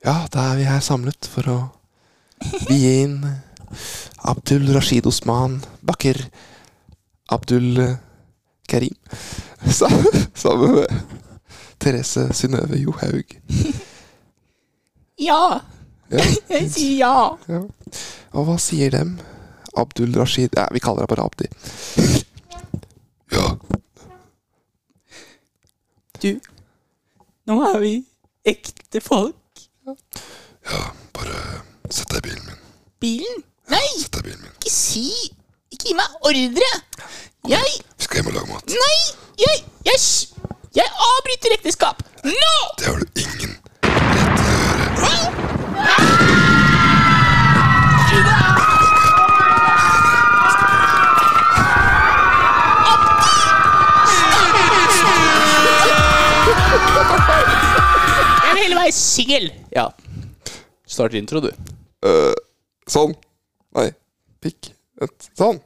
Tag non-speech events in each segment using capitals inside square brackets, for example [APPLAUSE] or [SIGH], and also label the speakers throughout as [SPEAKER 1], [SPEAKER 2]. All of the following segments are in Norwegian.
[SPEAKER 1] Ja, da er vi her samlet for å vie inn Abdul Rashid Osman Bakker Abdul eh, Karim [LAUGHS] sa- sammen med Therese Synnøve Johaug.
[SPEAKER 2] Ja.
[SPEAKER 1] Ja,
[SPEAKER 2] [LAUGHS] Jeg sier ja.
[SPEAKER 1] ja. Og hva sier dem? Abdul Rashid Nei, vi kaller deg bare Abdi. Ja.
[SPEAKER 2] Du, nå er vi ekte folk.
[SPEAKER 1] eh, Sett deg i bilen min.
[SPEAKER 2] Bilen? Nei,
[SPEAKER 1] Sett deg i bilen min.
[SPEAKER 2] ikke si Ikke gi meg ordre! Jeg
[SPEAKER 1] Vi skal hjem og lage mat.
[SPEAKER 2] Nei! Jeg Jeg, s- jeg avbryter ekteskap! Nå!
[SPEAKER 1] Det har du ingen
[SPEAKER 2] Jeg vil heller være singel.
[SPEAKER 3] Ja. Start intro, du.
[SPEAKER 1] Sånn. Nei. Pikk. Et. Sånn.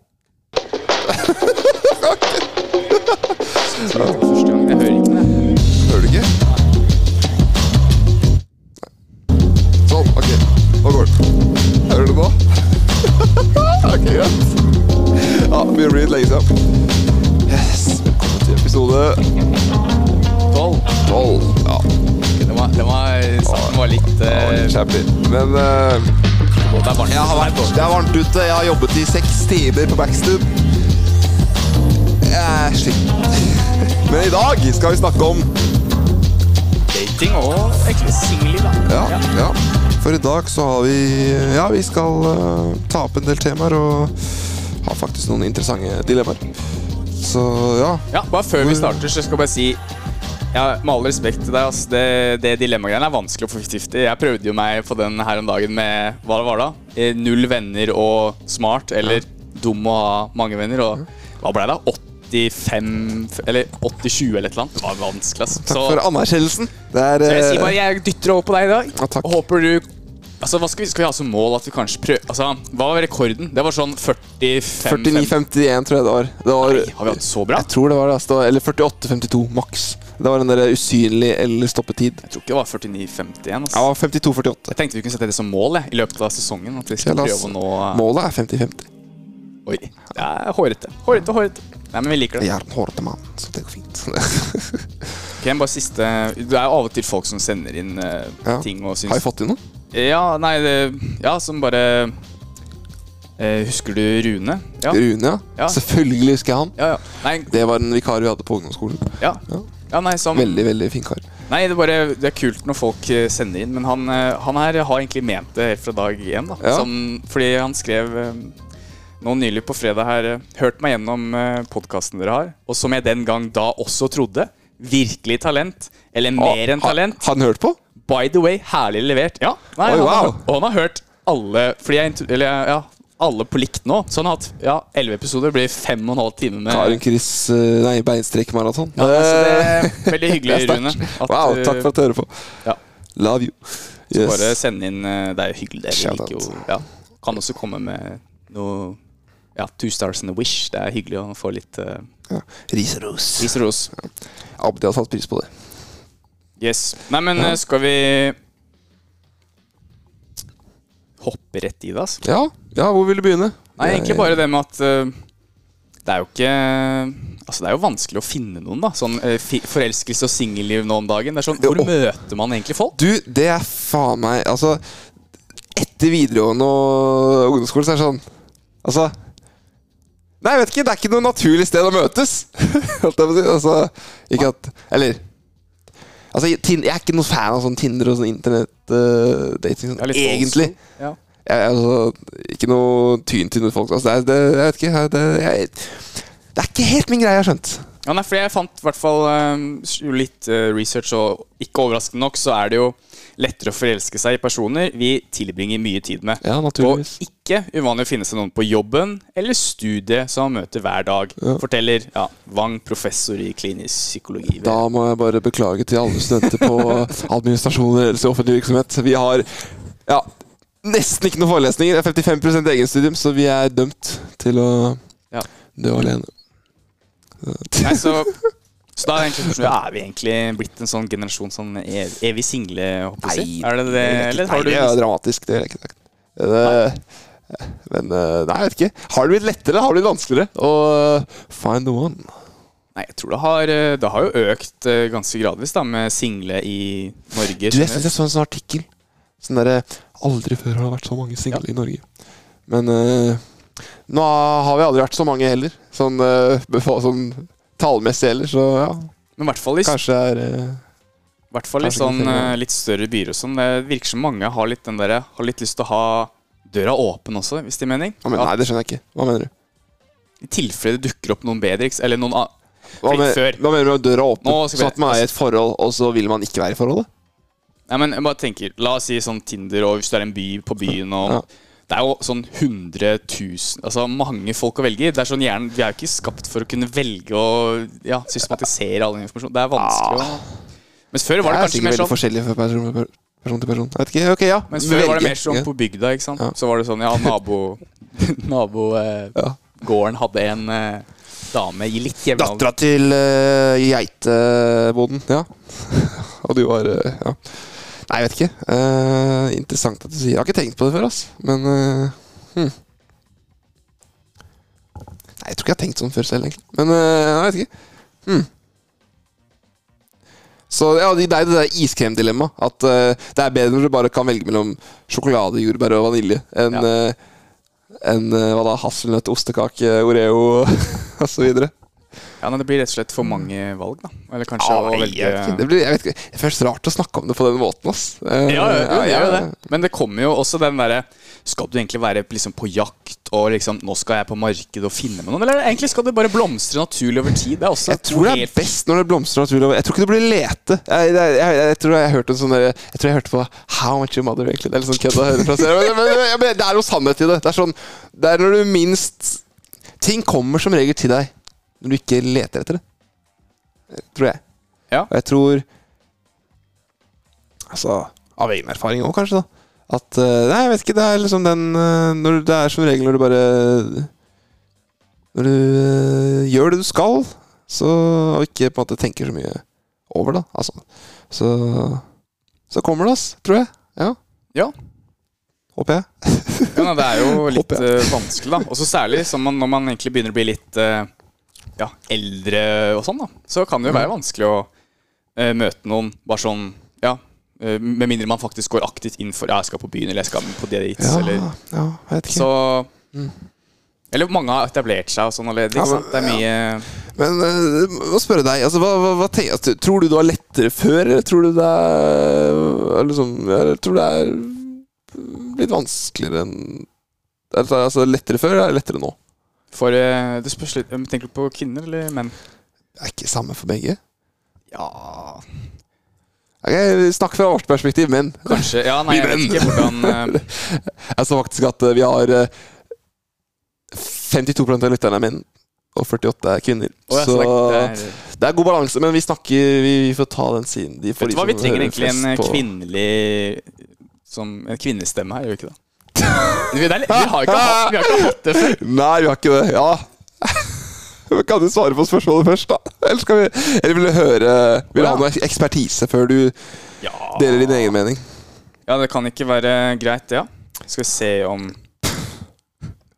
[SPEAKER 3] Første gang jeg hører ikke det.
[SPEAKER 1] Hører du ikke? Nei. Sånn, ok. Nå går den. Hører du nå? [LAUGHS] ok, greit. Ja, begynner å bli litt lenge siden. Yes, velkommen til episode
[SPEAKER 3] Tolv.
[SPEAKER 1] 12. Ja,
[SPEAKER 3] Den var, den var, starten var litt
[SPEAKER 1] det var
[SPEAKER 3] eh,
[SPEAKER 1] litt shabby. Men eh,
[SPEAKER 3] Det er varmt.
[SPEAKER 1] jeg har vært, det er varmt ute. Jeg har jobbet i seks timer på Backstub. Jeg er sliten. Men i dag skal vi snakke om
[SPEAKER 3] dating og egentlig singelliv, da.
[SPEAKER 1] Ja, ja. For i dag så har vi Ja, vi skal eh, ta opp en del temaer og har faktisk noen interessante dilemmaer. Så ja.
[SPEAKER 3] Ja, bare før vi starter, så skal jeg bare si ja, Med all respekt til deg, ass. Det, det dilemmagreiene er vanskelig å få 50-50. Jeg prøvde jo meg på den her om dagen med hva det var da? Eh, Null venner og smart, eller dum og ha mange venner. Og hva ble det? da? 85 Eller 80-20 eller et eller annet. Det var vanskelig, ass.
[SPEAKER 1] Takk for anerkjennelsen. Det er
[SPEAKER 3] Så jeg
[SPEAKER 1] eh,
[SPEAKER 3] sier bare jeg dytter over på deg i dag.
[SPEAKER 1] Ja, takk.
[SPEAKER 3] Og håper du Altså, hva skal vi, skal vi ha som mål at vi kanskje prøver Altså, Hva var rekorden? Det var sånn 45
[SPEAKER 1] 49,51 tror jeg det var. Det var
[SPEAKER 3] Nei, Har vi hatt så bra?
[SPEAKER 1] Jeg tror det var det. Altså, det var- eller 48,52 maks. Det var den der usynlig eller stoppetid.
[SPEAKER 3] Jeg tror ikke det var 49-51.
[SPEAKER 1] Ja,
[SPEAKER 3] Altså.
[SPEAKER 1] 52,48.
[SPEAKER 3] Jeg tenkte vi kunne sette det som mål jeg, i løpet av sesongen. At vi skal
[SPEAKER 1] Ja, la oss-
[SPEAKER 3] prøve å nå
[SPEAKER 1] Målet er 50-50.
[SPEAKER 3] Oi, det er hårete. Hårete, hårete. Nei, men vi liker det.
[SPEAKER 1] Jeg er en hårete mann, så det går fint. [LAUGHS]
[SPEAKER 3] Ok, bare siste Det er jo av og til folk som sender inn eh,
[SPEAKER 1] Ja.
[SPEAKER 3] ting og syns
[SPEAKER 1] har jeg fått inn noe?
[SPEAKER 3] Ja, nei, det, ja, som bare eh, Husker du Rune? Ja.
[SPEAKER 1] Rune,
[SPEAKER 3] Ja.
[SPEAKER 1] ja. Selvfølgelig husker jeg han.
[SPEAKER 3] Ja, ja. Nei,
[SPEAKER 1] Det var en vikar vi hadde på ungdomsskolen.
[SPEAKER 3] ja.
[SPEAKER 1] Ja.
[SPEAKER 3] ja, nei, som
[SPEAKER 1] Veldig, veldig fin kar.
[SPEAKER 3] Nei, det er, bare, det er kult når folk eh, sender inn, men han, eh, han her har egentlig ment det helt fra dag én. Da.
[SPEAKER 1] Ja.
[SPEAKER 3] Som, fordi han skrev eh, nå nylig på fredag her eh, Hørt meg gjennom podkasten dere har, og som jeg den gang da også trodde. Virkelig talent. Eller mer enn
[SPEAKER 1] Ha-
[SPEAKER 3] talent.
[SPEAKER 1] Har han hørt på?
[SPEAKER 3] By the way, herlig levert. Ja, nei,
[SPEAKER 1] Oi,
[SPEAKER 3] han har,
[SPEAKER 1] wow.
[SPEAKER 3] Og han har hørt alle Fordi jeg, intro- eller, ja, alle på likt nå. Så han har hatt ja, elleve episoder. Blir fem og en halv time med
[SPEAKER 1] Karin Chris eh, Nei, beinstrekkmaraton.
[SPEAKER 3] ja, altså,
[SPEAKER 1] [LAUGHS]
[SPEAKER 3] det er Veldig hyggelig,
[SPEAKER 1] Det er
[SPEAKER 3] Rune.
[SPEAKER 1] sterkt.
[SPEAKER 3] at
[SPEAKER 1] Wow,
[SPEAKER 3] du-
[SPEAKER 1] takk for at du hører på.
[SPEAKER 3] ja.
[SPEAKER 1] Love you.
[SPEAKER 3] Så
[SPEAKER 1] Yes.
[SPEAKER 3] bare send inn eh, Det er jo hyggelig. Dere
[SPEAKER 1] Shout
[SPEAKER 3] liker jo
[SPEAKER 1] out.
[SPEAKER 3] ja. Kan også komme med noe Ja, Two Stars and a Wish. Det er hyggelig å få litt eh,
[SPEAKER 1] Ja. Ris og ros.
[SPEAKER 3] ris og ros.
[SPEAKER 1] Abdi har satt pris på det.
[SPEAKER 3] Yes. Nei, men eh, skal vi hoppe rett i det, altså?
[SPEAKER 1] Ja, ja hvor vil du begynne?
[SPEAKER 3] Nei, egentlig
[SPEAKER 1] Jeg-
[SPEAKER 3] bare det med at eh, det er jo ikke Altså, det er jo vanskelig å finne noen, da. Sånn eh, fi forelskelse og singelliv nå om dagen. Det er sånn, Hvor
[SPEAKER 1] Jo.
[SPEAKER 3] møter man egentlig folk?
[SPEAKER 1] Du, det er faen meg Altså, etter videregående og ungdomsskolen, så er det sånn Altså Nei, jeg vet ikke. Det er ikke noe naturlig sted å møtes. [LAUGHS] Holdt jeg på å si. Altså, ikke at Eller Altså, jeg- Tin- jeg er ikke noen fan av sånn Tinder og sånn internettdating,
[SPEAKER 3] Det er
[SPEAKER 1] sånn,
[SPEAKER 3] litt old
[SPEAKER 1] egentlig.
[SPEAKER 3] school. Ja.
[SPEAKER 1] Jeg, altså, ikke noe tyn til noen folk. Altså, det, er- det, jeg vet ikke, det, jeg, det er ikke helt min greie, jeg har skjønt.
[SPEAKER 3] Ja, nei, fordi jeg fant i hvert fall eh, litt eh, research, og ikke overraskende nok, så er det jo lettere å forelske seg i personer vi tilbringer mye tid med.
[SPEAKER 1] Ja,
[SPEAKER 3] og
[SPEAKER 1] naturligvis.
[SPEAKER 3] ikke uvanlig å finne seg noen på jobben eller studiet som man møter hver dag, forteller ja, Wang, professor i klinisk psykologi. ved-
[SPEAKER 1] Da må jeg bare beklage til alle studenter
[SPEAKER 3] [LAUGHS]
[SPEAKER 1] på administrasjon og ledelse i offentlig virksomhet. Vi har ja, nesten ikke noen forelesninger. Det er 55 egenstudium, så vi er dømt til å
[SPEAKER 3] Ja.
[SPEAKER 1] dø alene. [LAUGHS]
[SPEAKER 3] Nei, så Så da er, egentlig, spørsmålet, er vi egentlig blitt en sånn generasjon som er evig single? håper jeg å si?
[SPEAKER 1] Nei,
[SPEAKER 3] er det det, eller
[SPEAKER 1] Nei,
[SPEAKER 3] har du
[SPEAKER 1] det er dramatisk. Det er ikke sagt. Det, men eh, nei, jeg vet ikke. Har det blitt lettere eller har det blitt vanskeligere å eh, find the one?
[SPEAKER 3] Nei, jeg tror det har, eh, det har jo økt eh, ganske gradvis da, med single i Norge.
[SPEAKER 1] Du, jeg synes jeg så en sånn artikkel. Sånn derre Aldri før har det vært så mange single i Norge. Men eh, nå har vi aldri vært så mange heller. Sånn, eh, [LAUGHS] befo- sånn tallmessig heller, så ja.
[SPEAKER 3] Men i hvert fall i,
[SPEAKER 1] Kanskje er eh,
[SPEAKER 3] hvert fall i
[SPEAKER 1] kanskje ikke
[SPEAKER 3] sånn,
[SPEAKER 1] single.
[SPEAKER 3] eh, litt større byer og sånn. Det virker som mange har litt, den der, har litt lyst til å ha døra åpen også, hvis det er mening.
[SPEAKER 1] ja, men,
[SPEAKER 3] At
[SPEAKER 1] Nei, det skjønner jeg ikke. Hva mener du?
[SPEAKER 3] I tilfelle det dukker opp noen bedre, ikke s- eller noen a-
[SPEAKER 1] Hva,
[SPEAKER 3] Fordi
[SPEAKER 1] men,
[SPEAKER 3] før-
[SPEAKER 1] hva mener du med døra åpen?
[SPEAKER 3] Nå skal vi-
[SPEAKER 1] Sånn at man er i et forhold, og så vil man ikke være i forholdet?
[SPEAKER 3] Nei, men jeg bare tenker, La oss si sånn Tinder, og hvis du er en by på byen og
[SPEAKER 1] Ja.
[SPEAKER 3] Det er jo sånn 100 000 Altså mange folk å velge i. Det er sånn hjernen, Vi er jo ikke skapt for å kunne velge og ja, systematisere all den informasjonen. Det er vanskelig å Mens før var det
[SPEAKER 1] Ah. er
[SPEAKER 3] kanskje
[SPEAKER 1] sikkert
[SPEAKER 3] mer
[SPEAKER 1] veldig
[SPEAKER 3] sånn
[SPEAKER 1] forskjellig fra person, per- person til person. Jeg vet ikke, ok, ja.
[SPEAKER 3] Mens før var det
[SPEAKER 1] Velge.
[SPEAKER 3] mer sånn
[SPEAKER 1] Ja.
[SPEAKER 3] på bygda, ikke sant.
[SPEAKER 1] Ja.
[SPEAKER 3] Så var det sånn ja, nabo [LAUGHS] nabogården eh,
[SPEAKER 1] Ja.
[SPEAKER 3] gården hadde en eh, dame i litt jevnalder.
[SPEAKER 1] Dattera til eh, geitebonden, ja. [LAUGHS] og du var eh, ja. Nei, jeg vet ikke. Eh, interessant at du sier Jeg har ikke tenkt på det før, ass. Men eh, hm. Nei, jeg tror ikke jeg har tenkt sånn før selv, egentlig. Men eh, nei, jeg vet ikke. Hm. Så ja, det det er det der iskremdilemmaet. At eh, det er bedre når du bare kan velge mellom sjokolade, jordbær og vanilje enn
[SPEAKER 3] Ja.
[SPEAKER 1] eh, enn, eh, hva da, hasselnøtt, ostekake, Oreo og [LAUGHS] så videre.
[SPEAKER 3] Ja, nei, Det blir rett og slett for mange valg, da. Eller kanskje
[SPEAKER 1] Mm. Ja,
[SPEAKER 3] å
[SPEAKER 1] nei,
[SPEAKER 3] velge
[SPEAKER 1] jeg vet ikke. Det blir, jeg vet ikke. Det føles rart å snakke om det på den måten, ass. Eh,
[SPEAKER 3] Ja, ja, ja, det gjør jo
[SPEAKER 1] ja.
[SPEAKER 3] det. Men det kommer jo også den derre Skal du egentlig være liksom på jakt og liksom Nå skal jeg på markedet og finne med noen? Eller egentlig skal det bare blomstre naturlig over tid? Det er også
[SPEAKER 1] Jeg tror det er
[SPEAKER 3] helt-
[SPEAKER 1] best når det blomstrer naturlig. Jeg tror ikke det blir lete. Jeg, jeg, jeg, jeg tror jeg hørte en sånn der, Jeg tror jeg hørte på How much your mother egentlig Eller sånn kødd å høre fra serien. Men, men, men, men det er noe sannhet i det. Det er sånn Det er når du minst Ting kommer som regel til deg når du ikke leter etter det. Eh, Tror jeg.
[SPEAKER 3] Ja.
[SPEAKER 1] Og jeg tror Altså Av egen erfaring òg, kanskje, da. At eh, Nei, jeg vet ikke. Det er liksom den eh, når, Det er som regel når du bare Når du eh, gjør det du skal, så, og ikke på en måte tenker så mye over det, altså. Så, så kommer det, ass, tror jeg. Ja.
[SPEAKER 3] Ja.
[SPEAKER 1] Håper jeg.
[SPEAKER 3] Ja, nei, det er jo litt
[SPEAKER 1] Håper jeg.
[SPEAKER 3] eh, vanskelig, da. Og så særlig som man, når man egentlig begynner å bli litt eh, ja, eldre og sånn, da. Så kan det jo være
[SPEAKER 1] Mm.
[SPEAKER 3] vanskelig å eh, møte noen bare sånn Ja. eh, med mindre man faktisk går aktivt inn for Ja, jeg skal på byen, eller jeg skal på dates,
[SPEAKER 1] Ja,
[SPEAKER 3] eller
[SPEAKER 1] ja, jeg vet ikke.
[SPEAKER 3] Så Eller mange har etablert seg og sånn allerede.
[SPEAKER 1] Ja,
[SPEAKER 3] Ikke
[SPEAKER 1] men-
[SPEAKER 3] sant? Det er mye
[SPEAKER 1] Men eh, må spørre deg, altså, hva, hva, hva tenk, altså, tror du det var lettere før, eller tror du det er eller liksom, eller tror du det er blitt vanskeligere enn Altså altså, lettere før eller lettere nå?
[SPEAKER 3] For eh, det spørs litt men Tenker du på kvinner eller menn?
[SPEAKER 1] Det er ikke samme for begge.
[SPEAKER 3] Ja
[SPEAKER 1] Ok, Snakk fra vårt perspektiv, men
[SPEAKER 3] Kanskje. Ja, nei, jeg vet
[SPEAKER 1] Menn.
[SPEAKER 3] ikke hvordan eh,
[SPEAKER 1] jeg så faktisk at eh, vi har eh, 52 av lytterne er menn, og 48 er kvinner.
[SPEAKER 3] å, jeg,
[SPEAKER 1] [LAUGHS] så
[SPEAKER 3] det
[SPEAKER 1] det er,
[SPEAKER 3] er,
[SPEAKER 1] god balanse, men vi snakker Vi, vi får ta den siden. De får
[SPEAKER 3] Vet
[SPEAKER 1] de
[SPEAKER 3] du hva, vi
[SPEAKER 1] som
[SPEAKER 3] trenger
[SPEAKER 1] hører
[SPEAKER 3] egentlig en
[SPEAKER 1] flest
[SPEAKER 3] eh,
[SPEAKER 1] på-
[SPEAKER 3] kvinnelig som, En kvinnestemme her, gjør vi [LAUGHS] ikke det? Vi, det er, litt- vi har ikke hatt Vi har ikke hatt det før.
[SPEAKER 1] Nei, vi har ikke det. Ja. [LAUGHS] Men Kan du svare på spørsmålet først, da? Eller, skal vi, eller vil du høre Vil du ha noe ekspertise før du
[SPEAKER 3] Ja.
[SPEAKER 1] deler din egen mening?
[SPEAKER 3] ja, det kan ikke være greit, det, ja. Skal vi se om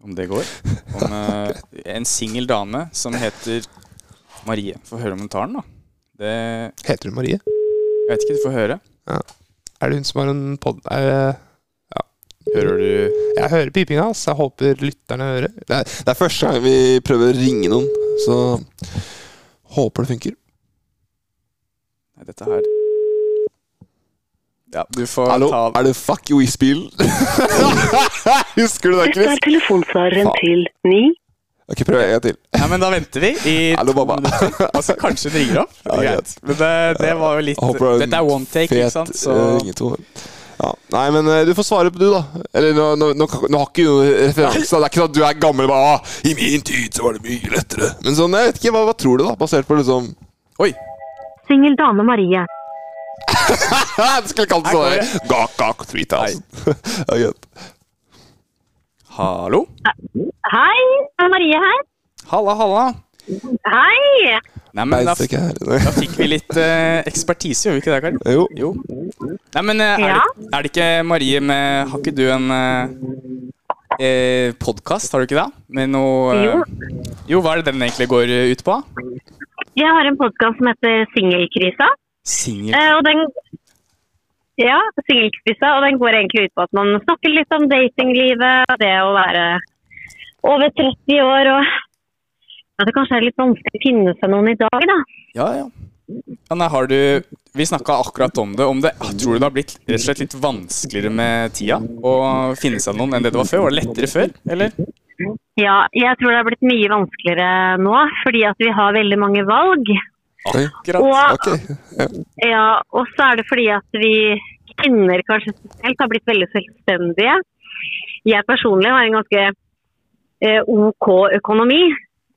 [SPEAKER 3] Om det går. [LAUGHS] Om eh, en singel dame som heter Marie. Få høre om hun tar den, da. Det,
[SPEAKER 1] Heter hun Marie?
[SPEAKER 3] jeg vet ikke, du får høre.
[SPEAKER 1] Er det hun som har en pod...
[SPEAKER 3] Hører du
[SPEAKER 1] jeg hører pipinga, så jeg håper lytterne hører. Det er, det er første gang vi prøver å ringe noen, så håper det funker.
[SPEAKER 3] Nei, dette her Ja, du får
[SPEAKER 1] Hallo,
[SPEAKER 3] ta
[SPEAKER 1] er det Fuck You-bilen? [LAUGHS] Husker du det,
[SPEAKER 4] Dette er
[SPEAKER 1] Chris?
[SPEAKER 4] telefonsvareren
[SPEAKER 1] Faen.
[SPEAKER 4] til 9.
[SPEAKER 1] Ok, prøv en gang til.
[SPEAKER 3] Nei, men da venter vi i [LAUGHS]
[SPEAKER 1] Hallo,
[SPEAKER 3] to
[SPEAKER 1] mamma.
[SPEAKER 3] minutter. Altså, kanskje den ringer opp. Det
[SPEAKER 1] [LAUGHS]
[SPEAKER 3] er
[SPEAKER 1] Ja,
[SPEAKER 3] greit. Men det, det var jo litt
[SPEAKER 1] Jeg håper det er en
[SPEAKER 3] Dette er one take, ikke sant? Så
[SPEAKER 1] eh, ringetone. Ja. Nei, men eh, du får svare på du, da. Eller nå, nå, nå, nå har ikke du noen referanse. da. Det er ikke sånn at du er gammel og bare ah, 'I min tid så var det mye lettere'. Men sånn, jeg vet ikke, hva, hva tror du, da? Basert på liksom
[SPEAKER 3] Oi!
[SPEAKER 5] Singel dame Marie.
[SPEAKER 1] Du skulle kalt det sånn
[SPEAKER 3] Her
[SPEAKER 1] der, Gak, gak, Oh, 3000. [LAUGHS] Ja, greit.
[SPEAKER 3] Hallo?
[SPEAKER 5] Hei, det er Marie her.
[SPEAKER 3] Halla, halla.
[SPEAKER 5] Hei!
[SPEAKER 3] Nei, men da,
[SPEAKER 1] Beins ikke her.
[SPEAKER 3] da fikk vi litt eh, ekspertise, gjorde vi ikke det, Karin?
[SPEAKER 1] [LAUGHS] Jo.
[SPEAKER 3] Jo. Nei, men eh, er,
[SPEAKER 5] Ja.
[SPEAKER 3] det, er det ikke Marie med Har ikke du en eh, eh, podkast, har du ikke det? Med noe eh,
[SPEAKER 5] Jo.
[SPEAKER 3] jo, hva er det den egentlig går eh, ut på?
[SPEAKER 5] Jeg har en podkast som heter Singelkrisa.
[SPEAKER 3] Singel
[SPEAKER 5] Eh, og den ja, singelkrisa, og den går egentlig ut på at man snakker litt om datinglivet, det å være over 30 år og at det kanskje er litt vanskelig å finne seg noen i dag, da.
[SPEAKER 3] Ja, ja. ja nei, har du Vi snakka akkurat om det. Om det ah, tror du det har blitt rett og slett litt vanskeligere med tida å finne seg noen enn det det var før? Var det lettere før, eller?
[SPEAKER 5] Ja, jeg tror det har blitt mye vanskeligere nå, fordi at vi har veldig mange valg.
[SPEAKER 1] Oi.
[SPEAKER 3] Akkurat.
[SPEAKER 5] Og,
[SPEAKER 1] Ok. Ja.
[SPEAKER 5] ja, og så er det fordi at vi kvinner kanskje spesielt har blitt veldig selvstendige. Jeg personlig har en ganske eh, OK økonomi,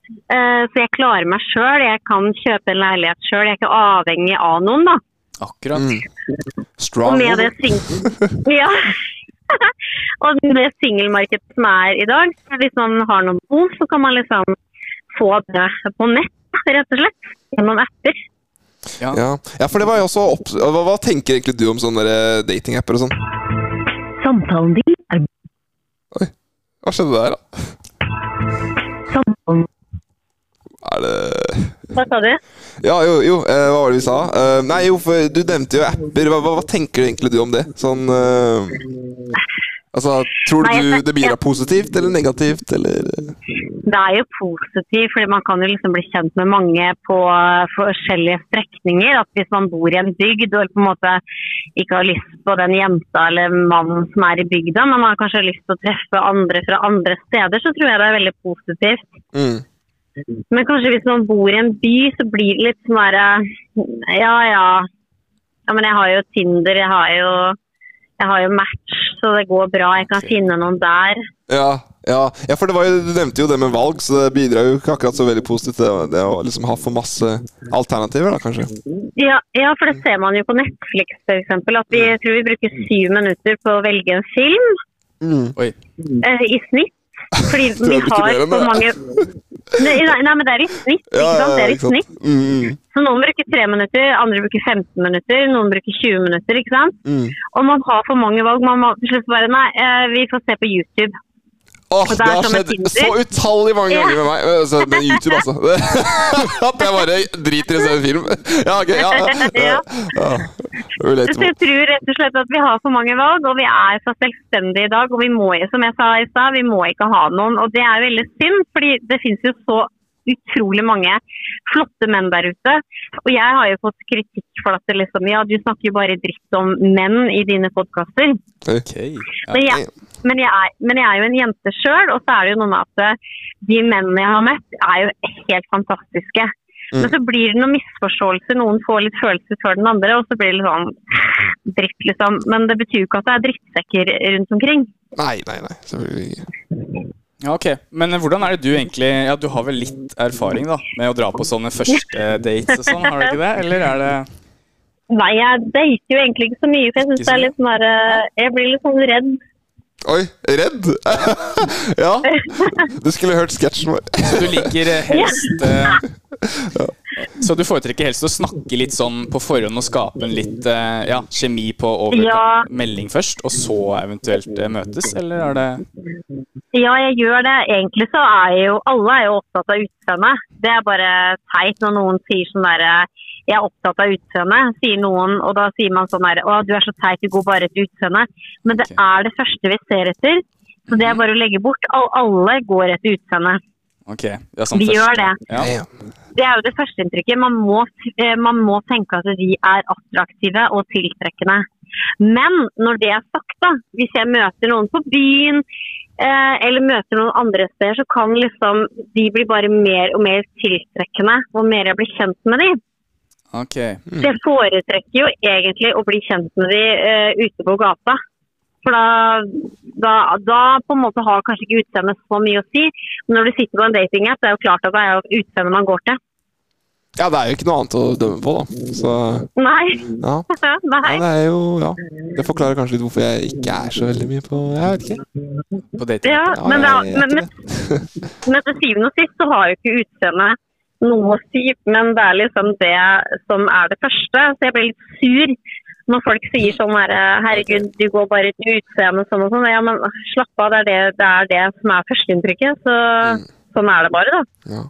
[SPEAKER 5] eh, så jeg klarer meg sjøl. Jeg kan kjøpe en leilighet sjøl, jeg er ikke avhengig av noen, da.
[SPEAKER 3] akkurat.
[SPEAKER 1] Mm.
[SPEAKER 5] Og
[SPEAKER 1] Strong.
[SPEAKER 5] med det sing [LAUGHS] ja. og med det singelmarkedet som er i dag, så hvis man har noen behov, så kan man liksom få det på nett, rett og slett. Gjennom apper.
[SPEAKER 3] Ja.
[SPEAKER 1] Ja. ja, for det var jo også opp... hva, hva tenker egentlig du om sånne der datingapper og sånn?
[SPEAKER 5] Samtalen din er
[SPEAKER 1] Hva skjedde der, da? Er det
[SPEAKER 5] Hva sa du?
[SPEAKER 1] Ja, jo, jo, eh, hva var det vi sa? Eh, nei, jo, for du nevnte jo apper. Hva, hva, hva tenker egentlig du om det? Sånn eh, Altså, tror
[SPEAKER 5] Nei,
[SPEAKER 1] du
[SPEAKER 5] jeg-
[SPEAKER 1] det bidrar positivt eller negativt, eller eh?
[SPEAKER 5] Det er jo positivt, fordi man kan jo liksom bli kjent med mange på eh, forskjellige strekninger. At hvis man bor i en bygd og på en måte ikke har lyst på den jenta eller mannen som er i bygda, men man har kanskje lyst til å treffe andre fra andre steder, så tror jeg det er veldig positivt.
[SPEAKER 1] mm.
[SPEAKER 5] Men kanskje hvis man bor i en by, så blir det litt sånn derre Ja, ja. Ja, men jeg har jo Tinder, jeg har jo, jeg har jo Match, så det går bra. Jeg kan finne noen der.
[SPEAKER 1] Ja, ja. ja, for det var jo, du nevnte jo det med valg, så det bidrar jo ikke akkurat så veldig positivt det, det å liksom ha for masse alternativer, da kanskje.
[SPEAKER 5] Ja, ja, for det ser man jo på Netflix f.eks. At vi jeg tror vi bruker syv minutter på å velge en film
[SPEAKER 3] Oi.
[SPEAKER 5] eh, i snitt. Fordi
[SPEAKER 1] Tror
[SPEAKER 5] vi
[SPEAKER 1] jeg [LAUGHS] det blir mer enn
[SPEAKER 5] har så
[SPEAKER 1] det. [LAUGHS]
[SPEAKER 5] mange nei, nei, nei, men det er i snitt. Ikke sant? Det er i
[SPEAKER 1] ikke sant?
[SPEAKER 5] snitt.
[SPEAKER 1] Mm,
[SPEAKER 5] Så noen bruker tre minutter, andre bruker 15 minutter, noen bruker 20 minutter. ikke sant?
[SPEAKER 1] mm, mm.
[SPEAKER 5] Og man har for mange valg. Man må til slutt bare Nei, eh, vi får se på YouTube.
[SPEAKER 1] Åh,
[SPEAKER 5] Og
[SPEAKER 1] det
[SPEAKER 5] det er
[SPEAKER 1] har
[SPEAKER 5] som med
[SPEAKER 1] skjedd så
[SPEAKER 5] Tinder.
[SPEAKER 1] utallig mange
[SPEAKER 5] Ja.
[SPEAKER 1] ganger med meg. Altså, med YouTube,
[SPEAKER 5] [LAUGHS]
[SPEAKER 1] altså. [LAUGHS] At jeg bare driter i å se en film. [LAUGHS] Ja, ok. Ja, ja.
[SPEAKER 5] Ja.
[SPEAKER 1] ja.
[SPEAKER 5] Så jeg
[SPEAKER 1] Relatable.
[SPEAKER 5] tror rett og slett at vi har for mange valg, og vi er så selvstendige i dag. Og vi må, som jeg sa i stad, vi må ikke ha noen. Og det er jo veldig synd, fordi det finnes jo så utrolig mange flotte menn der ute. Og jeg har jo fått kritikk for at det liksom, ja, du snakker jo bare dritt om menn i dine podkaster.
[SPEAKER 3] Ok.
[SPEAKER 5] Men
[SPEAKER 1] Ja.
[SPEAKER 5] jeg, men, jeg er, men jeg er jo en jente sjøl, og så er det jo noe med at eh, de mennene jeg har møtt, er jo helt fantastiske. Men
[SPEAKER 3] Mm.
[SPEAKER 5] så blir det noen misforståelser. Noen får litt følelser før den andre, og så blir det litt sånn [SIGHS] dritt, liksom. Men det betyr jo ikke at det er drittsekker rundt omkring.
[SPEAKER 1] Nei, nei, nei. Selvfølgelig ikke.
[SPEAKER 3] Ja, ok. Men eh, hvordan er det du egentlig Ja, du har vel litt erfaring da, med å dra på sånne første dates og sånn, har du ikke det? Eller er det
[SPEAKER 5] Nei, jeg dater jo egentlig ikke så mye, for jeg
[SPEAKER 3] Ikke
[SPEAKER 5] syns
[SPEAKER 3] så
[SPEAKER 5] det er
[SPEAKER 3] mye?
[SPEAKER 5] litt sånn der eh, Jeg blir litt sånn redd.
[SPEAKER 1] Oi, redd? [LAUGHS] ja. Du skulle hørt sketsjen vår. [LAUGHS]
[SPEAKER 3] Du liker eh, helst eh, Så du foretrekker helst å snakke litt sånn på forhånd og skape en litt eh, ja, kjemi på over
[SPEAKER 5] Ja.
[SPEAKER 3] melding først, og så eventuelt eh, møtes, eller er det
[SPEAKER 5] Ja, jeg gjør det. Egentlig så er jo alle er jo opptatt av utseendet. Det er bare teit når noen sier sånn derre jeg er opptatt av utseendet, sier noen, og da sier man sånn her Å, du er så teit, du går bare etter utseendet. Men det
[SPEAKER 3] Ok.
[SPEAKER 5] er det første vi ser etter. Så det er bare å legge bort. Al- Alle går etter utseendet.
[SPEAKER 3] Ok. Ja, sånn
[SPEAKER 5] Vi
[SPEAKER 3] først.
[SPEAKER 5] gjør det.
[SPEAKER 3] Ja.
[SPEAKER 5] Det er jo det førsteinntrykket. Man, må- eh, man må tenke at vi er attraktive og tiltrekkende. Men når det er sagt, da, hvis jeg møter noen på byen eh, eller møter noen andre steder, så kan liksom de bli bare mer og mer tiltrekkende hvor mer jeg blir kjent med de.
[SPEAKER 3] Ok.
[SPEAKER 5] Så jeg foretrekker jo egentlig å bli kjent med de eh, ute på gata. For da, da, da på en måte har kanskje ikke utseendet så mye å si. Men når du sitter på en datingapp, det er jo klart at det er jo utseendet man går til.
[SPEAKER 1] Ja, det er jo ikke noe annet å dømme på, da. Så
[SPEAKER 5] Nei.
[SPEAKER 1] ja. ja.
[SPEAKER 5] Nei.
[SPEAKER 1] Det er jo Ja. Det forklarer kanskje litt hvorfor jeg ikke er så veldig mye på Jeg vet ikke.
[SPEAKER 3] På dating.
[SPEAKER 5] Ja,
[SPEAKER 1] Ja,
[SPEAKER 5] men, det,
[SPEAKER 1] jeg
[SPEAKER 5] er-
[SPEAKER 1] vet
[SPEAKER 5] men,
[SPEAKER 1] ikke
[SPEAKER 5] men, men til syvende og sist så har jo ikke utseendet noe sykt, men det er liksom det som er det første. Så jeg blir litt sur når folk sier sånn her Herregud, du går bare ut i utseendet sånn og sånn. Ja, men slapp av, det er det, det, er det som er førsteinntrykket. Så
[SPEAKER 1] Mm.
[SPEAKER 5] sånn er det bare, da.
[SPEAKER 1] Ja.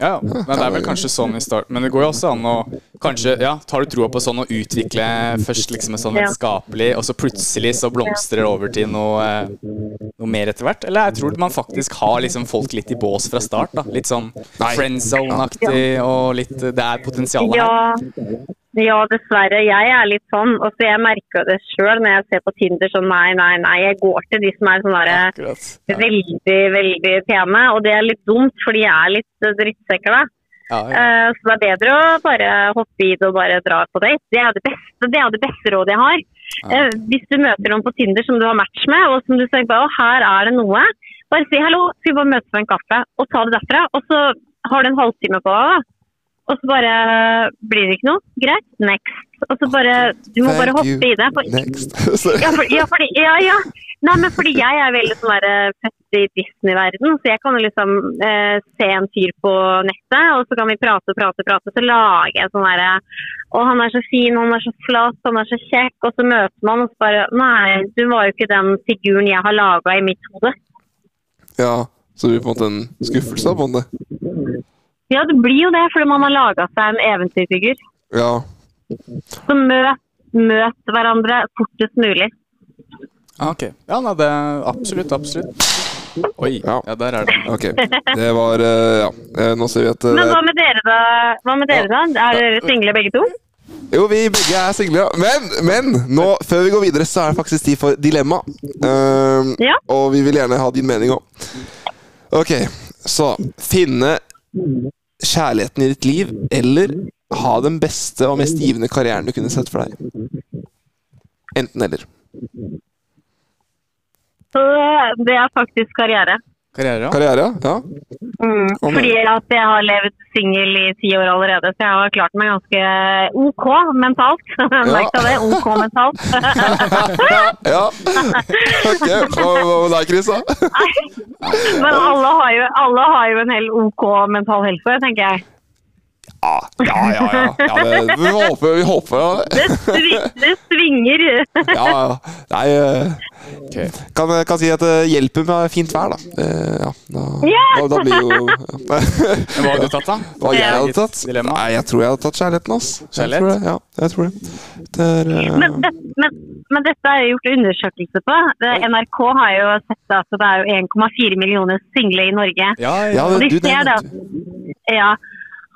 [SPEAKER 3] Ja, men det er vel kanskje sånn i starten. Men det går jo også an å kanskje, ja, Tar du troa på sånn å utvikle først liksom en sånn
[SPEAKER 5] Ja.
[SPEAKER 3] vennskapelig, og så plutselig så blomstrer det over til noe, eh, noe mer etter hvert? Eller jeg tror man faktisk har liksom folk litt i bås fra start. da, Litt sånn friendzone-aktig og litt eh, Det er potensialet her.
[SPEAKER 5] Ja, ja, dessverre. Jeg er litt sånn. Og så jeg merker det sjøl når jeg ser på Tinder sånn nei, nei, nei. Jeg går til de som er sånn derre
[SPEAKER 3] Akkurat. Ja,
[SPEAKER 5] veldig, veldig pene. Og det er litt dumt, fordi jeg er litt eh, drittsekker da.
[SPEAKER 3] ja, ja.
[SPEAKER 5] Eh, Så det er bedre å bare hoppe i det og bare dra på date. Det er jo det beste, det er jo det beste rådet jeg har. Eh, Hvis du møter noen på Tinder som du har match med, og som du tenker bare, å her er det noe, bare si hallo, skal vi bare møtes på en kaffe, og ta det derfra. Og så har du en halvtime på deg, da. Og så bare eh, blir det ikke noe. Greit, next. Og så bare Du må bare
[SPEAKER 1] Thank you.
[SPEAKER 5] hoppe i det. For,
[SPEAKER 1] Next. [LAUGHS] Så-
[SPEAKER 5] ja, for, ja, fordi, ja, ja. Nei, men fordi jeg er veldig sånn der, eh, født i Disney-verden, så jeg kan jo liksom eh, se en fyr på nettet, og så kan vi prate, prate, prate, så lager jeg sånn derre Å, han er så fin, han er så flott, han er så kjekk, og så møter man, og så bare Nei, du var jo ikke den figuren jeg har laga i mitt hode.
[SPEAKER 1] ja. Så det blir på en måte en skuffelse, da, på en måte.
[SPEAKER 5] Ja, det blir jo det, fordi man har laga seg en eventyrfigur.
[SPEAKER 1] Ja.
[SPEAKER 5] Så møt, møt hverandre fortest mulig.
[SPEAKER 3] Ah, ok. Ja, nei, det er absolutt, absolutt. Oi.
[SPEAKER 1] Ja.
[SPEAKER 3] Ja, der er det.
[SPEAKER 5] [LAUGHS]
[SPEAKER 1] Ok. Det var eh, Ja. Eh, Nå ser vi at eh,
[SPEAKER 5] Men
[SPEAKER 1] det
[SPEAKER 5] hva
[SPEAKER 1] er-
[SPEAKER 5] med dere, da? Hva med dere da? Er dere single begge to?
[SPEAKER 1] Jo, vi begge er single, ja. Men, men nå, før vi går videre, så er det faktisk tid for dilemma. Ehm,
[SPEAKER 5] Ja.
[SPEAKER 1] Og vi vil gjerne ha din mening òg. Ok, så finne kjærligheten i ditt liv, eller ha den beste og mest givende karrieren du kunne sett for deg. Enten eller.
[SPEAKER 5] Så eh, det er faktisk karriere.
[SPEAKER 3] Karriere, ja.
[SPEAKER 1] Karriere, ja? [LAUGHS] ja.
[SPEAKER 5] Mm. Fordi at jeg har levd singel i ti år allerede, så jeg har klart meg ganske OK mentalt. [LAUGHS] Merk deg det. OK mentalt. [LAUGHS]
[SPEAKER 1] Ja. Ok, hva hva med deg, Chris? da?
[SPEAKER 5] Men alle har, jo, alle har jo en hel OK mental helse, tenker jeg.
[SPEAKER 1] Ja, Ah, ja, ja. ja. ja det, vi håper, vi håper ja.
[SPEAKER 5] Det, svi- det svinger.
[SPEAKER 1] Ja, ja. Nei eh,
[SPEAKER 3] Ok.
[SPEAKER 1] kan, eh, kan si at det hjelper med fint vær, da. Eh, ja, da,
[SPEAKER 5] Ja!
[SPEAKER 1] da, da blir jo
[SPEAKER 5] [LAUGHS]
[SPEAKER 1] ja. [LAUGHS]
[SPEAKER 3] Men hva hadde du tatt, da?
[SPEAKER 1] Hva jeg hadde tatt?
[SPEAKER 3] Dilemma.
[SPEAKER 1] Nei, jeg tror jeg hadde tatt kjærligheten, ass. Jeg
[SPEAKER 3] Kjærlighet?
[SPEAKER 1] tror det, ja, jeg tror det. det er, eh,
[SPEAKER 5] Men, det, men, men dette er jo gjort undersøkelse på. Det- NRK har jo sett at det er jo 1,4 millioner single i Norge.
[SPEAKER 3] Ja,
[SPEAKER 1] ja,
[SPEAKER 3] ja.
[SPEAKER 5] Og de
[SPEAKER 1] du, det,
[SPEAKER 5] ser det at, ja,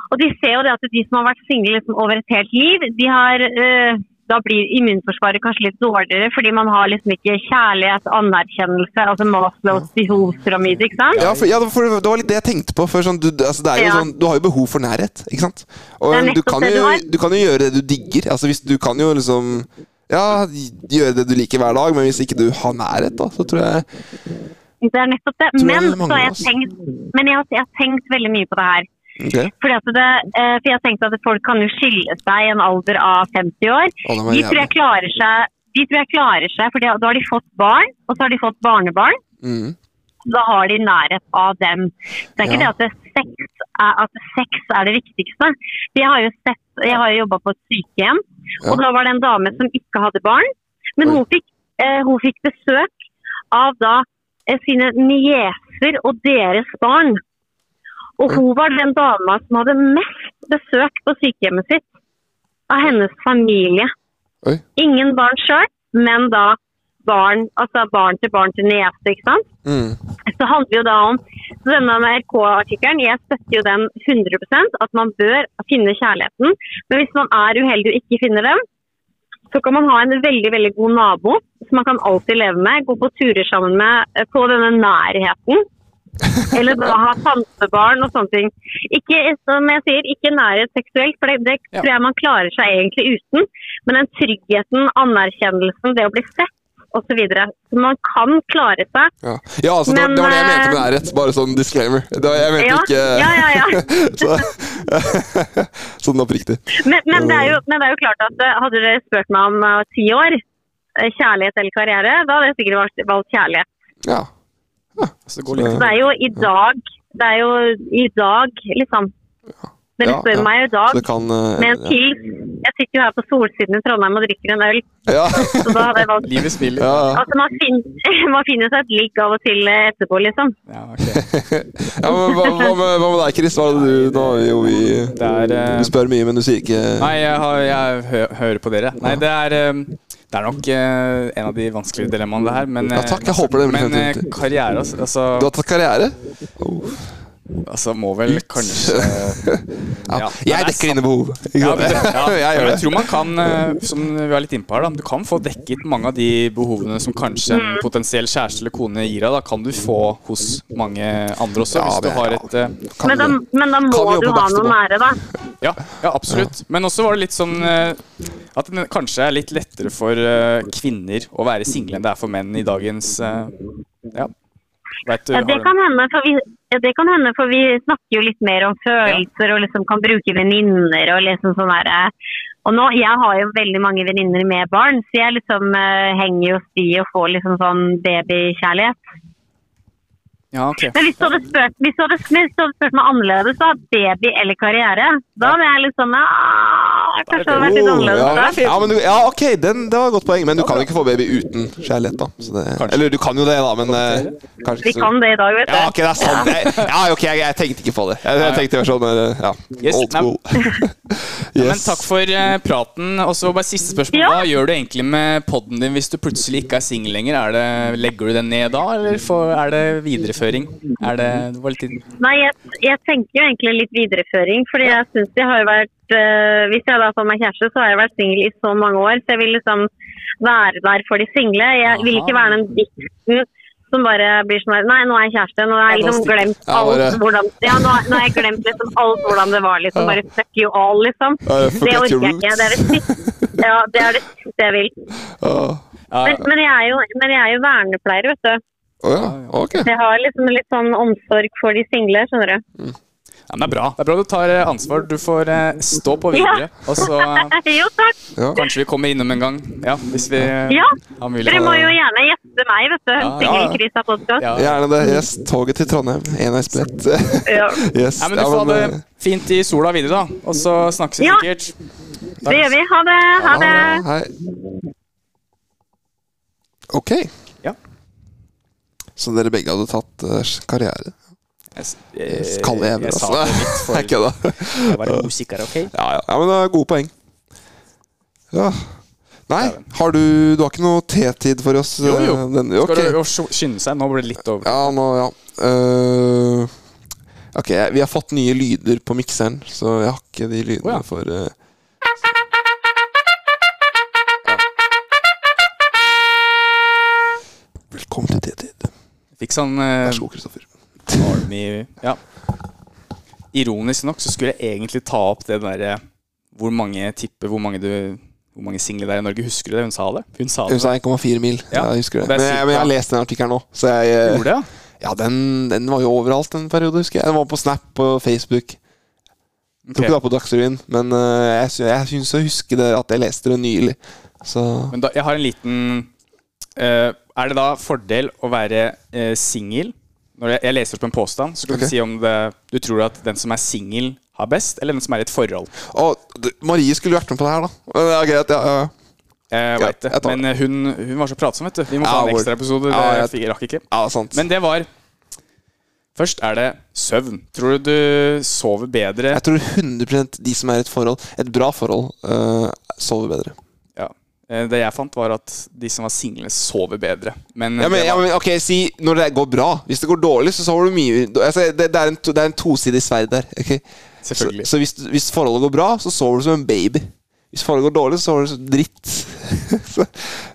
[SPEAKER 5] og de ser jo det at de som har vært single liksom, over et helt liv, de har, eh, da blir immunforsvaret kanskje litt dårligere, fordi man har liksom ikke kjærlighet, anerkjennelse, altså Maslows behovspyramide, ikke sant?
[SPEAKER 1] ja, for, ja, for det var litt det jeg tenkte på. For sånn, du, altså, det er jo
[SPEAKER 5] Ja.
[SPEAKER 1] sånn, du har jo behov for nærhet, ikke sant? Og
[SPEAKER 5] Det er
[SPEAKER 1] du
[SPEAKER 5] nettopp
[SPEAKER 1] kan,
[SPEAKER 5] det du
[SPEAKER 1] jo,
[SPEAKER 5] har.
[SPEAKER 1] du kan jo gjøre det du digger. Altså, hvis, du kan jo liksom ja, gjøre det du liker hver dag, men hvis ikke du har nærhet, da, så tror jeg
[SPEAKER 5] Det er nettopp det.
[SPEAKER 1] Tror jeg
[SPEAKER 5] Men,
[SPEAKER 1] det
[SPEAKER 5] så
[SPEAKER 1] mangler
[SPEAKER 5] har jeg,
[SPEAKER 1] oss.
[SPEAKER 5] tenkt, men jeg, har- jeg har tenkt veldig mye på det her.
[SPEAKER 1] Ok.
[SPEAKER 5] Fordi at det, eh, for jeg har tenkt at folk kan jo skille seg i en alder av 50 år.
[SPEAKER 1] Å, det var
[SPEAKER 5] De tror
[SPEAKER 1] jævlig.
[SPEAKER 5] jeg klarer seg, de tror jeg klarer seg, for da har de fått barn, og så har de fått barnebarn.
[SPEAKER 1] Mm.
[SPEAKER 5] da har de nærhet av dem. Det er ikke
[SPEAKER 1] Ja.
[SPEAKER 5] det at det sex er, at sex er det viktigste. Jeg har jo, sett- jeg har jo jobba på et sykehjem, og
[SPEAKER 1] Ja.
[SPEAKER 5] da var det en dame som ikke hadde barn.
[SPEAKER 1] Oi.
[SPEAKER 5] Men hun fikk, eh, hun fikk besøk av da eh, sine nieser og deres barn. Og hun var den dama som hadde mest besøk på sykehjemmet sitt av hennes familie.
[SPEAKER 1] Oi.
[SPEAKER 5] Ingen barn sjøl, men da barn, altså barn til barn til niese, ikke sant?
[SPEAKER 1] Mm.
[SPEAKER 5] så handler jo da om så denne NRK-artikkelen, jeg støtter jo den 100 at man bør finne kjærligheten. Men hvis man er uheldig og ikke finner den, så kan man ha en veldig veldig god nabo som man kan alltid leve med, gå på turer sammen med, eh, få denne nærheten. Eller da ha tantebarn og sånne ting. Ikke, som jeg sier, ikke nærhet seksuelt, for det, det
[SPEAKER 3] Ja.
[SPEAKER 5] tror jeg man klarer seg egentlig uten. Men den tryggheten, anerkjennelsen, det å bli sett osv. Så, videre. så man kan klare seg
[SPEAKER 1] Ja, ja altså, det, var,
[SPEAKER 5] Men,
[SPEAKER 1] det var det jeg mente med
[SPEAKER 5] eh,
[SPEAKER 1] nærhet. Bare sånn disclaimer. Det var, jeg eh, mente
[SPEAKER 5] Ja,
[SPEAKER 1] ikke
[SPEAKER 5] ja, ja, ja.
[SPEAKER 1] [LAUGHS] så, [LAUGHS] Sånn oppriktig.
[SPEAKER 5] Men, men, det er jo, men det er jo klart at eh, hadde dere spurt meg om eh, ti år, eh, kjærlighet eller karriere, da hadde jeg sikkert valgt, valgt kjærlighet.
[SPEAKER 1] Ja.
[SPEAKER 3] Så det går litt
[SPEAKER 5] Det er jo i dag, det er jo i dag liksom, Dere
[SPEAKER 1] Ja,
[SPEAKER 5] spør
[SPEAKER 1] ja.
[SPEAKER 5] meg jo i dag
[SPEAKER 1] Det kan eh,
[SPEAKER 5] med en pils. Jeg sitter jo her på solsiden i Trondheim og drikker en øl,
[SPEAKER 1] Ja. [LAUGHS]
[SPEAKER 5] så da hadde jeg valgt
[SPEAKER 3] Livet smiler.
[SPEAKER 1] ja, ja.
[SPEAKER 5] Altså, man, fin- man finner [LAUGHS] seg et ligg av og til eh, etterpå, liksom.
[SPEAKER 3] Ja, ok.
[SPEAKER 1] ja men hva, hva, med, hva med deg, Chris? Hva er det du Nå er jo vi
[SPEAKER 3] Det er, eh,
[SPEAKER 1] Du spør mye, men du sier ikke
[SPEAKER 3] Nei, jeg, har, jeg hø hører på dere. Nei, det er, eh, det er nok eh, en av de vanskeligere dilemmaene, det her. Men, eh,
[SPEAKER 1] Ja, takk, jeg håper det blir
[SPEAKER 3] men eh,
[SPEAKER 1] fremtidig.
[SPEAKER 3] karriere, altså, altså,
[SPEAKER 1] Du har tatt karriere?
[SPEAKER 3] altså Må vel kanskje
[SPEAKER 1] Ja.
[SPEAKER 3] Ja.
[SPEAKER 1] Jeg
[SPEAKER 3] Nei, det er
[SPEAKER 1] dekker dine behov. Ikke
[SPEAKER 3] Ja,
[SPEAKER 1] sant? [LAUGHS]
[SPEAKER 3] men, ja,
[SPEAKER 1] Jeg
[SPEAKER 3] men
[SPEAKER 1] gjør
[SPEAKER 3] jeg
[SPEAKER 1] det.
[SPEAKER 3] tror man kan, eh, som vi var litt inne på her, da, du kan få dekket mange av de behovene som kanskje en potensiell kjæreste eller kone gir deg. Da kan du få hos mange andre også,
[SPEAKER 1] Ja,
[SPEAKER 3] hvis du
[SPEAKER 1] det-
[SPEAKER 3] har
[SPEAKER 1] ja.
[SPEAKER 3] et eh,
[SPEAKER 1] Kan
[SPEAKER 5] Men da,
[SPEAKER 1] du-
[SPEAKER 5] men da
[SPEAKER 1] Kan vi
[SPEAKER 5] må
[SPEAKER 1] jobbe
[SPEAKER 5] du ha
[SPEAKER 1] backstage
[SPEAKER 5] noe nære, da.
[SPEAKER 3] Ja, ja absolutt. Men også var det litt sånn eh, at det kanskje er litt lettere for eh, kvinner å være single enn det er for menn i dagens eh, Ja. Vet du,
[SPEAKER 5] Ja, det
[SPEAKER 3] har du-
[SPEAKER 5] kan hende, for vi, ja, det kan hende, for vi snakker jo litt mer om følelser og liksom kan bruke venninner og liksom sånn derre Og nå, jeg har jo veldig mange venninner med barn, så jeg liksom eh, henger jo hos de og får liksom sånn babykjærlighet.
[SPEAKER 3] ja, ok.
[SPEAKER 5] Men hvis du hadde spurt, hvis du hadde, hvis du hadde spurt meg annerledes, da, baby eller karriere, da hadde jeg liksom ah, Kanskje det hadde vært litt
[SPEAKER 1] Oh,
[SPEAKER 5] annerledes
[SPEAKER 1] ja.
[SPEAKER 5] der.
[SPEAKER 1] Ja, men du, ja, ok, den, det var et godt poeng, men du kan jo ikke få baby uten kjærlighet, da. Så det, eller du kan jo det, da, men eh, kanskje
[SPEAKER 5] Vi
[SPEAKER 1] ikke så
[SPEAKER 5] kan det i dag, vet du.
[SPEAKER 1] Ja, ok, det er sant. Jeg, ja, ok, jeg, jeg tenkte ikke på det. Jeg, jeg tenkte jeg var sånn eh, ja,
[SPEAKER 3] Yes,
[SPEAKER 1] old
[SPEAKER 3] nei. [LAUGHS]
[SPEAKER 1] school. [LAUGHS]
[SPEAKER 3] Men takk for eh, praten. Og så bare siste spørsmål.
[SPEAKER 5] Ja.
[SPEAKER 3] Hva gjør du egentlig med podden din hvis du plutselig ikke er singel lenger? Er det, legger du den ned da, eller får, er det videreføring? Er det, det var litt inn-
[SPEAKER 5] Nei, jeg, jeg tenker jo egentlig litt videreføring. fordi jeg synes jeg har jo vært, eh, Hvis jeg da får meg kjæreste, så har jeg vært singel i så mange år. Så jeg vil liksom være der for de single. Jeg vil ikke være den dikten som bare blir sånn der, Nei, nå er jeg kjæreste. Nå har jeg
[SPEAKER 3] Ja, nå
[SPEAKER 5] liksom
[SPEAKER 3] stikker jeg.
[SPEAKER 5] glemt
[SPEAKER 1] Ja, bare-
[SPEAKER 5] alt hvordan Ja, nå, nå har jeg glemt liksom alt hvordan det var, liksom. Bare fuck you all, liksom.
[SPEAKER 1] Ja,
[SPEAKER 5] Det
[SPEAKER 1] forget
[SPEAKER 5] orker
[SPEAKER 1] your
[SPEAKER 5] jeg ikke. Det er det
[SPEAKER 1] roots.
[SPEAKER 5] siste ja, det er det siste jeg vil.
[SPEAKER 1] Å
[SPEAKER 3] Ja,
[SPEAKER 5] Men, men, jeg er jo, men jeg er jo vernepleier, vet du.
[SPEAKER 1] å ja, ok.
[SPEAKER 5] Jeg har liksom litt sånn omsorg for de single, skjønner du.
[SPEAKER 3] ja, men det er bra. Det er bra du tar eh, ansvar. Du får eh, stå på videre. Og så eh,
[SPEAKER 5] [LAUGHS] Jo, takk.
[SPEAKER 1] Ja.
[SPEAKER 3] kanskje vi kommer innom en gang. Ja, hvis vi eh,
[SPEAKER 5] Ja,
[SPEAKER 3] har mulighet.
[SPEAKER 5] Dere må jo gjerne gjeste meg, vet du. Ja,
[SPEAKER 3] Ja,
[SPEAKER 1] ja.
[SPEAKER 5] Singelkrisa podcast. Ja.
[SPEAKER 3] Ja.
[SPEAKER 1] Gjerne det. Yes, toget til Trondheim. Enveisbillett. [LAUGHS] Yes.
[SPEAKER 3] Nei, men du får ha
[SPEAKER 1] eh,
[SPEAKER 3] det fint i sola videre, da. Og så snakkes vi
[SPEAKER 5] Ja.
[SPEAKER 3] sikkert.
[SPEAKER 5] Det gjør vi. Ha det. Ha
[SPEAKER 1] eh,
[SPEAKER 5] det.
[SPEAKER 1] ja, Hei. Ok.
[SPEAKER 3] Ja.
[SPEAKER 1] Så dere begge hadde tatt eh, karriere?
[SPEAKER 3] Jeg, s- eh,
[SPEAKER 1] Kalle Even,
[SPEAKER 3] jeg sa
[SPEAKER 1] altså.
[SPEAKER 3] det litt for
[SPEAKER 1] [LAUGHS] Jeg kødda.
[SPEAKER 3] å være musiker, ok?
[SPEAKER 1] Ja, [LAUGHS] ja. ja, men det er gode poeng. Ja. Nei, har du Du har ikke noe tetid for oss?
[SPEAKER 3] Jo, jo.
[SPEAKER 1] eh, Den,
[SPEAKER 3] Skal
[SPEAKER 1] ok.
[SPEAKER 3] du jo sk- skynde seg? Nå blir det litt over.
[SPEAKER 1] Ja, nå, ja. Eh, ok, vi har fått nye lyder på mikseren, så jeg har ikke de lydene
[SPEAKER 3] Å, ja.
[SPEAKER 1] for eh, Velkommen til tetid.
[SPEAKER 3] Fikk sånn eh,
[SPEAKER 1] Vær så god, Kristoffer.
[SPEAKER 3] Army Ja. Ironisk nok så skulle jeg egentlig ta opp det derre hvor mange tipper hvor mange, du, hvor mange single det er i Norge. Husker du det? Hun sa det. Hun sa det.
[SPEAKER 1] Hun sa 1,4 mil.
[SPEAKER 3] Ja,
[SPEAKER 1] Ja, jeg husker det.
[SPEAKER 3] det er
[SPEAKER 1] Men jeg,
[SPEAKER 3] sykt,
[SPEAKER 1] men jeg har
[SPEAKER 3] ja.
[SPEAKER 1] lest den artikkelen nå. Så jeg, eh,
[SPEAKER 3] Gjorde det, ja?
[SPEAKER 1] ja, den, den var jo overalt en periode, husker jeg. Den var på Snap på Facebook. Jeg tror ikke det
[SPEAKER 3] Ok.
[SPEAKER 1] var på Dagsrevyen, men eh, jeg, sy- jeg syns å huske det at jeg leste det nylig. Så
[SPEAKER 3] Men da, jeg har en liten eh, Er det da fordel å være uh, singel? Når jeg, jeg leser opp en påstand, så kan
[SPEAKER 1] Ok.
[SPEAKER 3] du si om det, du tror at den som er singel, har best, eller den som er i et forhold.
[SPEAKER 1] Å, du, Marie skulle vært med på det her, da. Men det er greit, ja, ja, ja.
[SPEAKER 3] Jeg
[SPEAKER 1] Ja,
[SPEAKER 3] vet det.
[SPEAKER 1] jeg tar det.
[SPEAKER 3] Men eh, hun, hun var så pratsom, vet du. Vi må
[SPEAKER 1] Ja,
[SPEAKER 3] få en
[SPEAKER 1] hvor-
[SPEAKER 3] ekstraepisode.
[SPEAKER 1] Ja,
[SPEAKER 3] Det
[SPEAKER 1] jeg-
[SPEAKER 3] fikk- jeg rakk ikke.
[SPEAKER 1] Ja, sant.
[SPEAKER 3] Men det var Først er det søvn. Tror du du sover bedre
[SPEAKER 1] jeg tror 100 de som er i et forhold, et bra forhold, eh, sover bedre.
[SPEAKER 3] Ja. Eh, Det jeg fant, var at de som var single, sover bedre. Men, eh,
[SPEAKER 1] Ja, men,
[SPEAKER 3] det
[SPEAKER 1] ja,
[SPEAKER 3] var,
[SPEAKER 1] men ok, Si når det går bra. Hvis det går dårlig, så sover du mye altså, det, det, er en, to- det er en tosidig sverd der. ok? Så,
[SPEAKER 3] selvfølgelig.
[SPEAKER 1] så hvis, du- hvis forholdet går bra, så sover du som en baby. Hvis forholdet går dårlig, så sover du som dritt. [LAUGHS] så,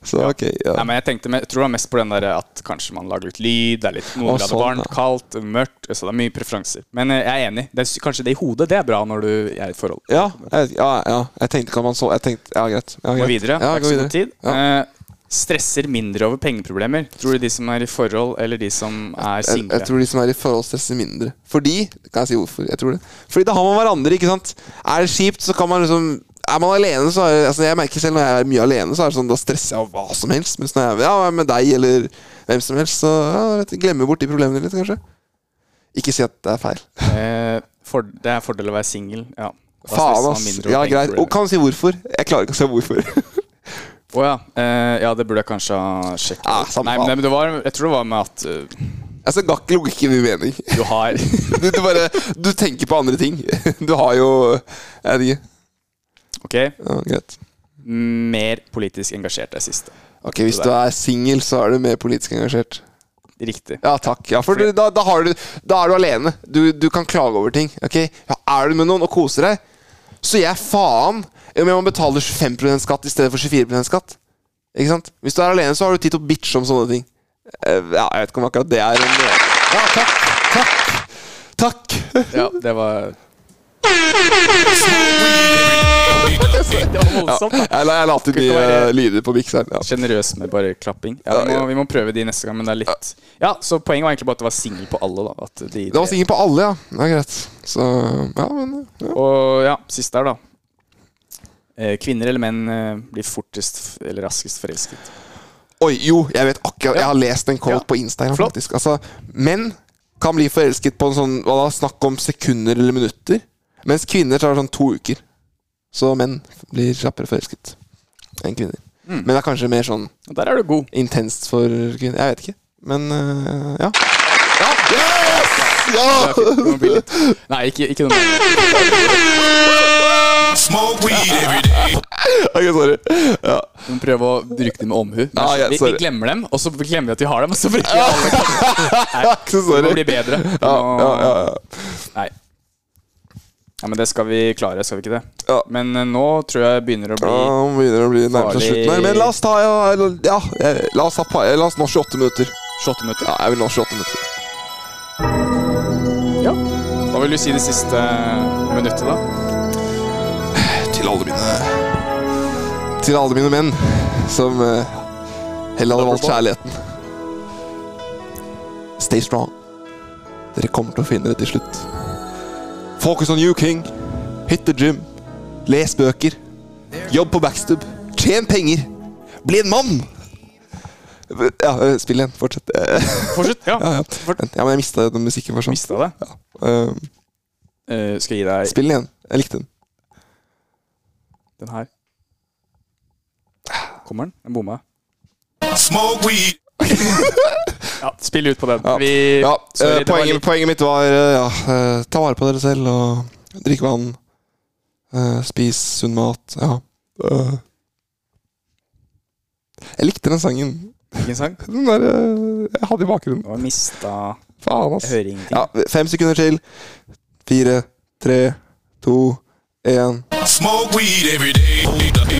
[SPEAKER 1] så ok. Ja.
[SPEAKER 3] Nei, men jeg tenkte, me- jeg tror det var mest på den der at kanskje man lager litt lyd, det er litt noen
[SPEAKER 1] Å,
[SPEAKER 3] grader
[SPEAKER 1] sånn,
[SPEAKER 3] varmt,
[SPEAKER 1] ja.
[SPEAKER 3] kaldt, mørkt Så det er mye preferanser. Men eh, jeg er enig. Det er, sy- kanskje det i hodet, det er bra når du er i et forhold.
[SPEAKER 1] Ja, jeg, ja, ja, jeg tenkte kan man sove Jeg tenkte, ja, greit. Ja,
[SPEAKER 3] Gå
[SPEAKER 1] greit.
[SPEAKER 3] videre.
[SPEAKER 1] Ja,
[SPEAKER 3] det er
[SPEAKER 1] gå
[SPEAKER 3] ikke så god
[SPEAKER 1] videre.
[SPEAKER 3] tid.
[SPEAKER 1] Ja.
[SPEAKER 3] Eh, stresser mindre over pengeproblemer. Tror du de som er i forhold, eller de som er
[SPEAKER 1] Jeg,
[SPEAKER 3] single?
[SPEAKER 1] jeg tror de som er i forhold, stresser mindre. Fordi Kan jeg si hvorfor? Jeg tror det. Fordi da har man hverandre, ikke sant? Er det kjipt, så kan man liksom Er man alene, så er det altså Jeg merker selv når jeg er mye alene, så er det sånn da stresser jeg av hva som helst. Mens når jeg ja, er med deg eller hvem som helst, så ja, vet du, glemmer bort de problemene litt, kanskje. Ikke si at det er feil.
[SPEAKER 3] Eh, For, det er fordel å være singel. Ja. Da stresser
[SPEAKER 1] Faen,
[SPEAKER 3] man
[SPEAKER 1] ass.
[SPEAKER 3] mindre og
[SPEAKER 1] Ja,
[SPEAKER 3] tenker
[SPEAKER 1] greit.
[SPEAKER 3] på det.
[SPEAKER 1] Og kan du si hvorfor? Jeg klarer ikke å se
[SPEAKER 3] [LAUGHS]
[SPEAKER 1] hvorfor.
[SPEAKER 3] Å ja. Eh, ja, det burde jeg kanskje ha sjekket.
[SPEAKER 1] Ja, samme
[SPEAKER 3] Ah, nei,
[SPEAKER 1] faen.
[SPEAKER 3] men det var, jeg tror det var med at eh,
[SPEAKER 1] altså, ga ikke logikken min mening. [LAUGHS]
[SPEAKER 3] du har
[SPEAKER 1] Du, du bare Du tenker på andre ting. [LAUGHS] Du har jo Jeg vet ikke.
[SPEAKER 3] Ok,
[SPEAKER 1] Ja, greit.
[SPEAKER 3] mer politisk engasjert er siste.
[SPEAKER 1] Ok, Hvis du er singel, så er du mer politisk engasjert.
[SPEAKER 3] Riktig.
[SPEAKER 1] Ja, takk. Ja, for da, da, har du, da er du alene. Du, du kan klage over ting. ok? Ja, er du med noen og koser deg, så gir jeg faen om jeg må betale 25 skatt i stedet for 24 skatt. Ikke sant? Hvis du er alene, så har du tid til å bitche om sånne ting. Eh, Ja, jeg vet ikke om akkurat det er en Ja, takk! Takk! Takk!
[SPEAKER 3] Ja, det var
[SPEAKER 1] Jeg
[SPEAKER 3] Det var voldsomt, da.
[SPEAKER 1] la, [LAUGHS] jeg la til de eh, lyder på mikseren. Ja.
[SPEAKER 3] Sjenerøs med bare klapping. Ja, vi, må, vi må prøve de neste gang, men det er litt Ja, så poenget var egentlig bare at det var singel på alle, da. At de,
[SPEAKER 1] Det var sikkert på alle, ja. Det er greit. Så ja, men eh. ja.
[SPEAKER 3] Og ja, siste her, da. Eh, Kvinner eller menn eh, blir fortest f- eller raskest forelsket.
[SPEAKER 1] Oi, jo, jeg vet akkurat Jeg har lest en quote
[SPEAKER 3] Ja.
[SPEAKER 1] på Instagram,
[SPEAKER 3] Flott.
[SPEAKER 1] faktisk. Altså, menn kan bli forelsket på en sånn Hva da? Snakk om sekunder eller minutter. Mens kvinner tar sånn to uker. Så menn blir kjappere forelsket enn kvinner. Men det er kanskje mer sånn
[SPEAKER 3] Og der er du [LAUGHS] god.
[SPEAKER 1] intenst for kvinner. Jeg vet ikke. Men øh, ja. Ja! Yes! [LAUGHS]
[SPEAKER 3] Det er
[SPEAKER 1] Ja!
[SPEAKER 3] fint. Du må bli litt. Nei, ikke, ikke noe mer.
[SPEAKER 4] Smoke weed every day.
[SPEAKER 1] [LAUGHS] Ok, sorry. Ja.
[SPEAKER 3] Vi må prøve å bruke dem med omhu.
[SPEAKER 1] Ah, ja,
[SPEAKER 3] vi, vi
[SPEAKER 1] sorry.
[SPEAKER 3] glemmer dem, og så glemmer vi at vi har dem. Og så bruker vi alle
[SPEAKER 1] [LAUGHS] Ikke så
[SPEAKER 3] Vi må
[SPEAKER 1] sorry.
[SPEAKER 3] bli bedre. Vi
[SPEAKER 1] Ja,
[SPEAKER 3] må-
[SPEAKER 1] ja, ja, ja.
[SPEAKER 3] Nei. Ja, men det skal vi klare, skal vi ikke det?
[SPEAKER 1] Ja.
[SPEAKER 3] Men eh, nå tror jeg begynner å bli
[SPEAKER 1] Ja, nå begynner det å bli nærmest
[SPEAKER 3] Farlig.
[SPEAKER 1] slutten her. Men la oss ta ja, eller- ja, eh, la, oss ha, pa- eh, la oss nå 28 minutter.
[SPEAKER 3] 28 minutter.
[SPEAKER 1] Ja, jeg vil nå 28 minutter.
[SPEAKER 3] Ja. Hva vil du si det siste eh, minuttet, da?
[SPEAKER 1] Til alle mine Til alle mine menn som eh, heller hadde valgt kjærligheten. Stay strong. Dere kommer til å finne det til slutt. Focus on you, King. Hit the gym. Les bøker. Jobb på backstub. Tjen penger. Bli en mann! Ja, eh, spill igjen. Fortsett. Eh,
[SPEAKER 3] Fortsett. Ja.
[SPEAKER 1] Ja, ja.
[SPEAKER 3] Fort-
[SPEAKER 1] Vent, ja, men jeg mista den musikken for sånn.
[SPEAKER 3] Mista det.
[SPEAKER 1] Eh,
[SPEAKER 3] Eh, skal jeg gi deg
[SPEAKER 1] spill den igjen. Jeg likte den.
[SPEAKER 3] den her. Kommer den? Den bomma.
[SPEAKER 4] Smoke weed.
[SPEAKER 3] [LAUGHS] Ja, spill ut på den.
[SPEAKER 1] Ja.
[SPEAKER 3] Vi
[SPEAKER 1] Ja,
[SPEAKER 3] sorry,
[SPEAKER 1] eh,
[SPEAKER 3] det var
[SPEAKER 1] poenget,
[SPEAKER 3] litt-
[SPEAKER 1] poenget mitt var eh, ja, eh, ta vare på dere selv og drikk vann. eh, spis sunn mat. Ja. eh. jeg likte den sangen.
[SPEAKER 3] Hvilken sang? Det
[SPEAKER 1] Den der eh, jeg hadde i bakgrunnen.
[SPEAKER 3] var mista
[SPEAKER 1] Faen, ass.
[SPEAKER 3] Jeg hører ingenting.
[SPEAKER 1] Ja, fem sekunder til. Fire, tre, to, én.
[SPEAKER 4] Smoke weed every day.